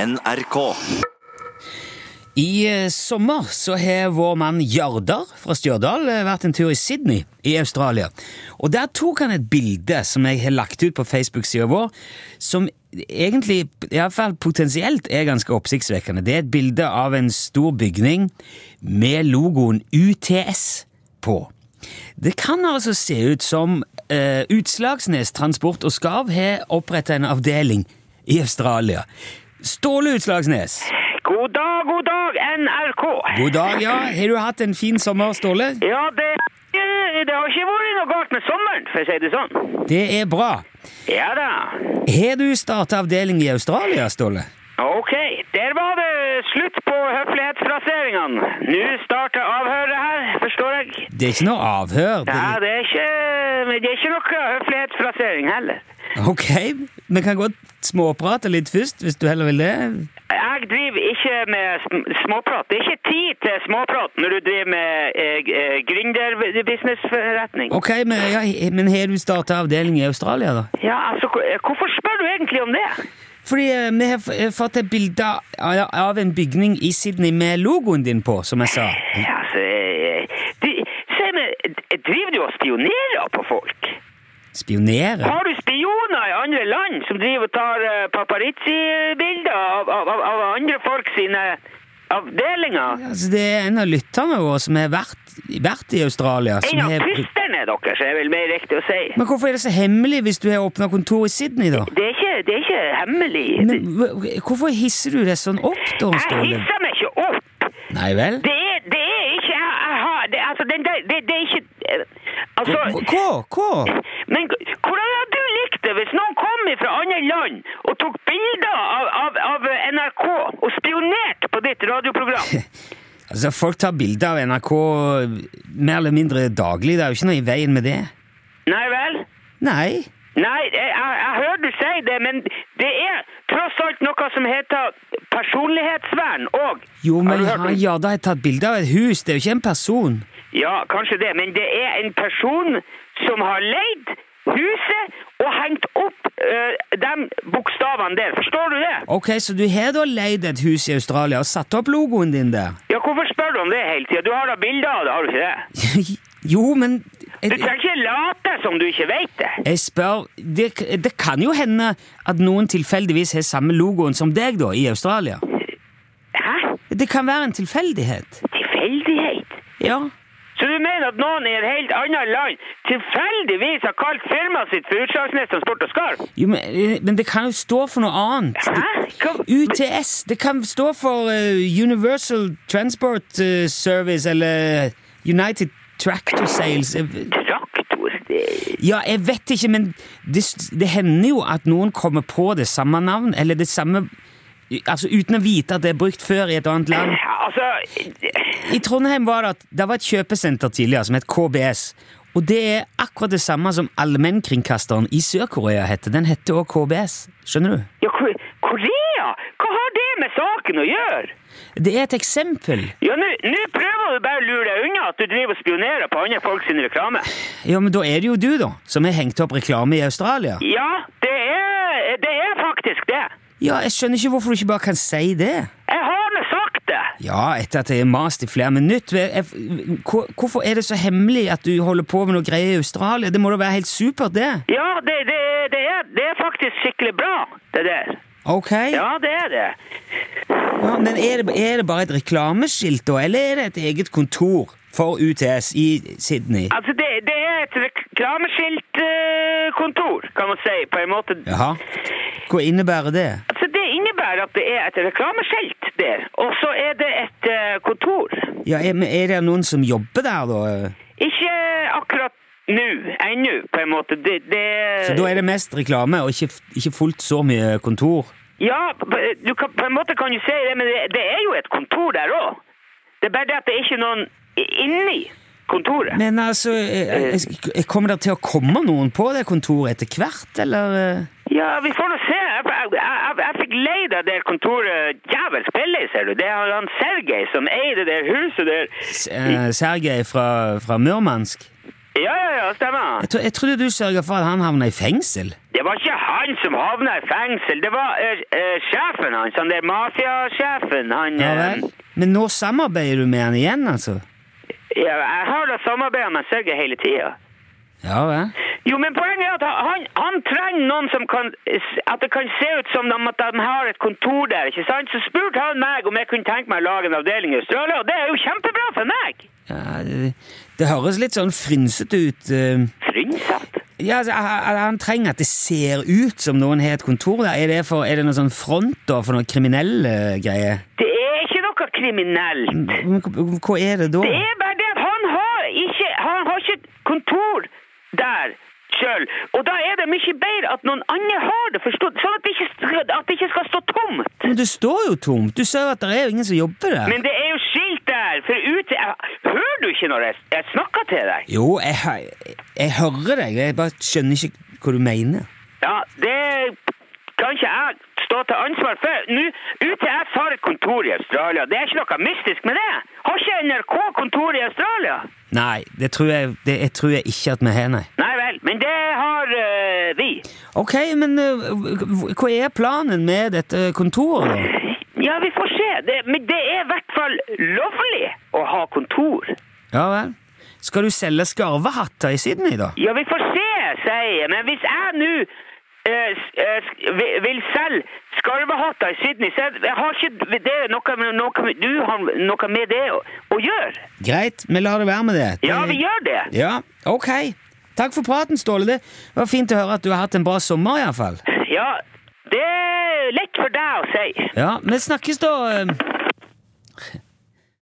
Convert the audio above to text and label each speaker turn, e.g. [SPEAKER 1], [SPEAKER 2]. [SPEAKER 1] NRK.
[SPEAKER 2] I eh, sommer så har vår mann Jardar fra Stjørdal eh, vært en tur i Sydney i Australia. Og der tok han et bilde som jeg har lagt ut på Facebook-sida vår, som egentlig, iallfall potensielt, er ganske oppsiktsvekkende. Det er et bilde av en stor bygning med logoen UTS på. Det kan altså se ut som eh, Utslagsnes Transport og Skarv har oppretta en avdeling i Australia. Ståle Utslagsnes!
[SPEAKER 3] God dag, god dag, NRK.
[SPEAKER 2] God dag, ja. Har du hatt en fin sommer, Ståle?
[SPEAKER 3] Ja, det, det har ikke vært noe galt med sommeren, for å si det sånn.
[SPEAKER 2] Det er bra.
[SPEAKER 3] Ja da.
[SPEAKER 2] Har du starta avdeling i Australia, Ståle?
[SPEAKER 3] Ok, der var det slutt på høflighetsplasseringene. Nå starter avhøret her, forstår jeg.
[SPEAKER 2] Det er ikke noe avhør. det-
[SPEAKER 3] Ja, det er ikke, men det er ikke noe høflighetsplassering heller.
[SPEAKER 2] Ok, vi kan godt småprate litt først, hvis du heller vil det.
[SPEAKER 3] Jeg driver ikke med sm- småprat. Det er ikke tid til småprat når du driver med eh, eh, gründerbusinessforretning.
[SPEAKER 2] Ok, men, ja, men har du starta avdeling i Australia, da?
[SPEAKER 3] Ja, altså, hvor- hvorfor spør du egentlig om det?
[SPEAKER 2] Fordi eh, vi har f- eh, fått et bilde av- av en bygning i Sydney med logoen din på, som jeg sa.
[SPEAKER 3] Ja, altså, eh, de, se meg, d- driver du og spionerer på folk?
[SPEAKER 2] Spionere?
[SPEAKER 3] Har du spioner i andre land som driver og tar eh, paparizzi-bilder av, av, av, av andre folk sine avdelinger?
[SPEAKER 2] Altså, det er en av lytterne våre som har vært, vært i Australia. Som
[SPEAKER 3] En av
[SPEAKER 2] har...
[SPEAKER 3] tvisterne deres, er vel mer riktig å si.
[SPEAKER 2] Men hvorfor er det så hemmelig hvis du har åpna kontor i Sydney, da?
[SPEAKER 3] Det er ikke, det er ikke hemmelig.
[SPEAKER 2] Men hva- hvorfor hisser du deg sånn opp, da,
[SPEAKER 3] Jeg
[SPEAKER 2] Ståle?
[SPEAKER 3] hisser meg ikke opp!
[SPEAKER 2] Nei vel?
[SPEAKER 3] Det er, det er ikke jeg, jeg har, det, Altså, den der det, det er ikke eh, Altså
[SPEAKER 2] Hva? Hva?
[SPEAKER 3] Men g- hvordan hadde du likt det hvis noen kom fra andre land og tok bilder av, av, av NRK og spionerte på ditt radioprogram?
[SPEAKER 2] Altså, folk tar bilder av NRK eh, mer eller mindre daglig. Det er jo ikke noe i veien med det.
[SPEAKER 3] Nei vel?
[SPEAKER 2] Nei.
[SPEAKER 3] Nei, jeg, jeg, jeg hører du si det, men det er tross alt noe som heter personlighetsvern og
[SPEAKER 2] Jo, men
[SPEAKER 3] Har du hørt
[SPEAKER 2] han
[SPEAKER 3] om-
[SPEAKER 2] Jarda har tatt bilde av et hus. Det er jo ikke en person.
[SPEAKER 3] Ja, kanskje det, men det er en person som har leid huset og hengt opp eh, de bokstavene der. Forstår du det?
[SPEAKER 2] Ok, så du har da leid et hus i Australia og satt opp logoen din der?
[SPEAKER 3] Ja, hvorfor spør du om det hele tida? Du har da bilder av det, har du ikke det?
[SPEAKER 2] jo, men
[SPEAKER 3] Du
[SPEAKER 2] jeg,
[SPEAKER 3] trenger ikke late som du ikke vet det.
[SPEAKER 2] jeg spør det, det kan jo hende at noen tilfeldigvis har samme logoen som deg, da, i Australia?
[SPEAKER 3] Hæ?
[SPEAKER 2] Det kan være en tilfeldighet.
[SPEAKER 3] Tilfeldighet?
[SPEAKER 2] Ja.
[SPEAKER 3] Så du mener at noen i et helt annet land tilfeldigvis har kalt firmaet sitt for Utslagsnes Transport og Skarv?
[SPEAKER 2] Jo, men, eh, men det kan jo stå for noe annet.
[SPEAKER 3] Hæ? Hva?
[SPEAKER 2] UTS. Det kan stå for eh, Universal Transport eh, Service eller United Tractor Sales. Eh,
[SPEAKER 3] Traktor? Det-
[SPEAKER 2] Ja, jeg vet ikke, men det, s- det hender jo at noen kommer på det samme navn, eller det samme Altså uten å vite at det er brukt før i et annet land.
[SPEAKER 3] Ja, Altså
[SPEAKER 2] I Trondheim var det at det var et kjøpesenter tidligere som het KBS. Og det er akkurat det samme som allmennkringkasteren i Sør-Korea heter. Den heter også KBS. Skjønner du?
[SPEAKER 3] ja, Ko- Korea? Hva har det med saken å gjøre?
[SPEAKER 2] Det er et eksempel.
[SPEAKER 3] Ja, Nå nå prøver du bare å lure deg unna at du driver og spionerer på andre folk sin reklame.
[SPEAKER 2] Ja, men da er det jo du, da, som har hengt opp reklame i Australia.
[SPEAKER 3] Ja, det er, det er faktisk det.
[SPEAKER 2] Ja, jeg skjønner ikke hvorfor du ikke bare kan si det.
[SPEAKER 3] Jeg har nå sagt det.
[SPEAKER 2] Ja, etter at jeg har mast i flere minutter. Jeg- jeg- hvor- Hvorfor er det så hemmelig at du holder på med noe greier i Australia? Det må da være helt supert, det?
[SPEAKER 3] Ja, det, det, det, er, det er faktisk skikkelig bra, det der.
[SPEAKER 2] Ok.
[SPEAKER 3] Ja, det er det.
[SPEAKER 2] Ja, men er det, er det bare et reklameskilt, da, eller er det et eget kontor for UTS i Sydney?
[SPEAKER 3] Altså, det, det er et reklameskiltkontor, kan man si, på en måte.
[SPEAKER 2] Jaha. Hva innebærer det?
[SPEAKER 3] Altså, det innebærer at det er et reklameskilt der, og så er det et eh, kontor.
[SPEAKER 2] Ja, er, men er det noen som jobber der, da?
[SPEAKER 3] Ikke akkurat nå, ennå, på en måte. Det, det
[SPEAKER 2] Så da er det mest reklame, og ikke, ikke fullt så mye kontor?
[SPEAKER 3] Ja, på- du kan, på en måte kan du si det, men det, det er jo et kontor der òg. Det er bare det at det er ikke noen i- inni kontoret.
[SPEAKER 2] Men altså, eh, eh, kommer det til å komme noen på det kontoret etter hvert, eller? eh?
[SPEAKER 3] Ja, vi får nå se. Jeg, jeg, jeg, jeg fikk leid av det kontoret jævels billig, ser du. Det er han Sergej som eier det der huset der.
[SPEAKER 2] S- eh, Sergej fra, fra Murmansk?
[SPEAKER 3] Ja, ja, ja, stemmer.
[SPEAKER 2] Jeg, tro, jeg trodde du sørga for at han havna i fengsel.
[SPEAKER 3] Det var ikke han som havna i fengsel, det var eh, eh, sjefen hans, han der mafiasjefen. Han
[SPEAKER 2] Ja
[SPEAKER 3] eh,
[SPEAKER 2] vel? Men nå samarbeider du med han igjen, altså?
[SPEAKER 3] eh, ja, Jeg har da samarbeida med Sergej hele tida.
[SPEAKER 2] Ja vel?
[SPEAKER 3] Jo, men poenget er at han, han trenger noen som kan At det kan se ut som om at han har et kontor der, ikke sant? Så spurte han meg om jeg kunne tenke meg å lage en avdeling i Australia, og det er jo kjempebra for meg!
[SPEAKER 2] Ja, det, det høres litt sånn frynsete ut. eh.
[SPEAKER 3] Frynsatt.
[SPEAKER 2] Ja, altså, han- Han trenger at det ser ut som noen har et kontor der. Er det, for, er det noen sånn front da, for noen kriminelle greier?
[SPEAKER 3] Det er ikke noe kriminelt.
[SPEAKER 2] Men Hva hva er det da?
[SPEAKER 3] Det er bare det at han har ikke, han har ikke et kontor der sjøl. Og da er det mye bedre at noen andre har det, forstått? Sånn at det ikke, skal- at det ikke skal stå tomt.
[SPEAKER 2] Men det står jo tomt! Du sa jo at det er jo ingen som jobber der.
[SPEAKER 3] Men det er jo skilt der! For ut, jeg, hører du ikke når jeg, jeg snakker til deg?
[SPEAKER 2] Jo, jeg, hø- jeg hører deg. Jeg bare skjønner ikke hva du mener.
[SPEAKER 3] Ja, det kan ikke jeg stå til ansvar for. Nå, UTS har et kontor i Australia. Det er ikke noe mystisk med det. Har ikke NRK kontor i Australia?
[SPEAKER 2] Nei, det tror jeg, det, jeg tror jeg ikke at vi har, nei.
[SPEAKER 3] Nei vel, men det har eh, vi.
[SPEAKER 2] Ok, men eh, hva hva er planen med dette kontoret, da?
[SPEAKER 3] Ja, vi får se. Det, men det er i hvert fall lovlig å ha kontor.
[SPEAKER 2] Ja vel? Skal du selge skarvehatter i Sydney, da?
[SPEAKER 3] Ja, vi får se, sier jeg. Men hvis jeg nå eh, s- eh, sk- vi- vil selge skarvehatter i Sydney, så jeg- jeg har ikke det noe, med- noe, med- du har noe med det å, å gjøre.
[SPEAKER 2] Greit, vi lar det være med det.
[SPEAKER 3] Ja,
[SPEAKER 2] Det-
[SPEAKER 3] vi gjør det.
[SPEAKER 2] Ja, ok. Takk for praten, Ståle. Det var fint å høre at du har hatt en bra sommer, iallfall.
[SPEAKER 3] Ja, det er lett for deg å si.
[SPEAKER 2] Ja, vi snakkes da. eh.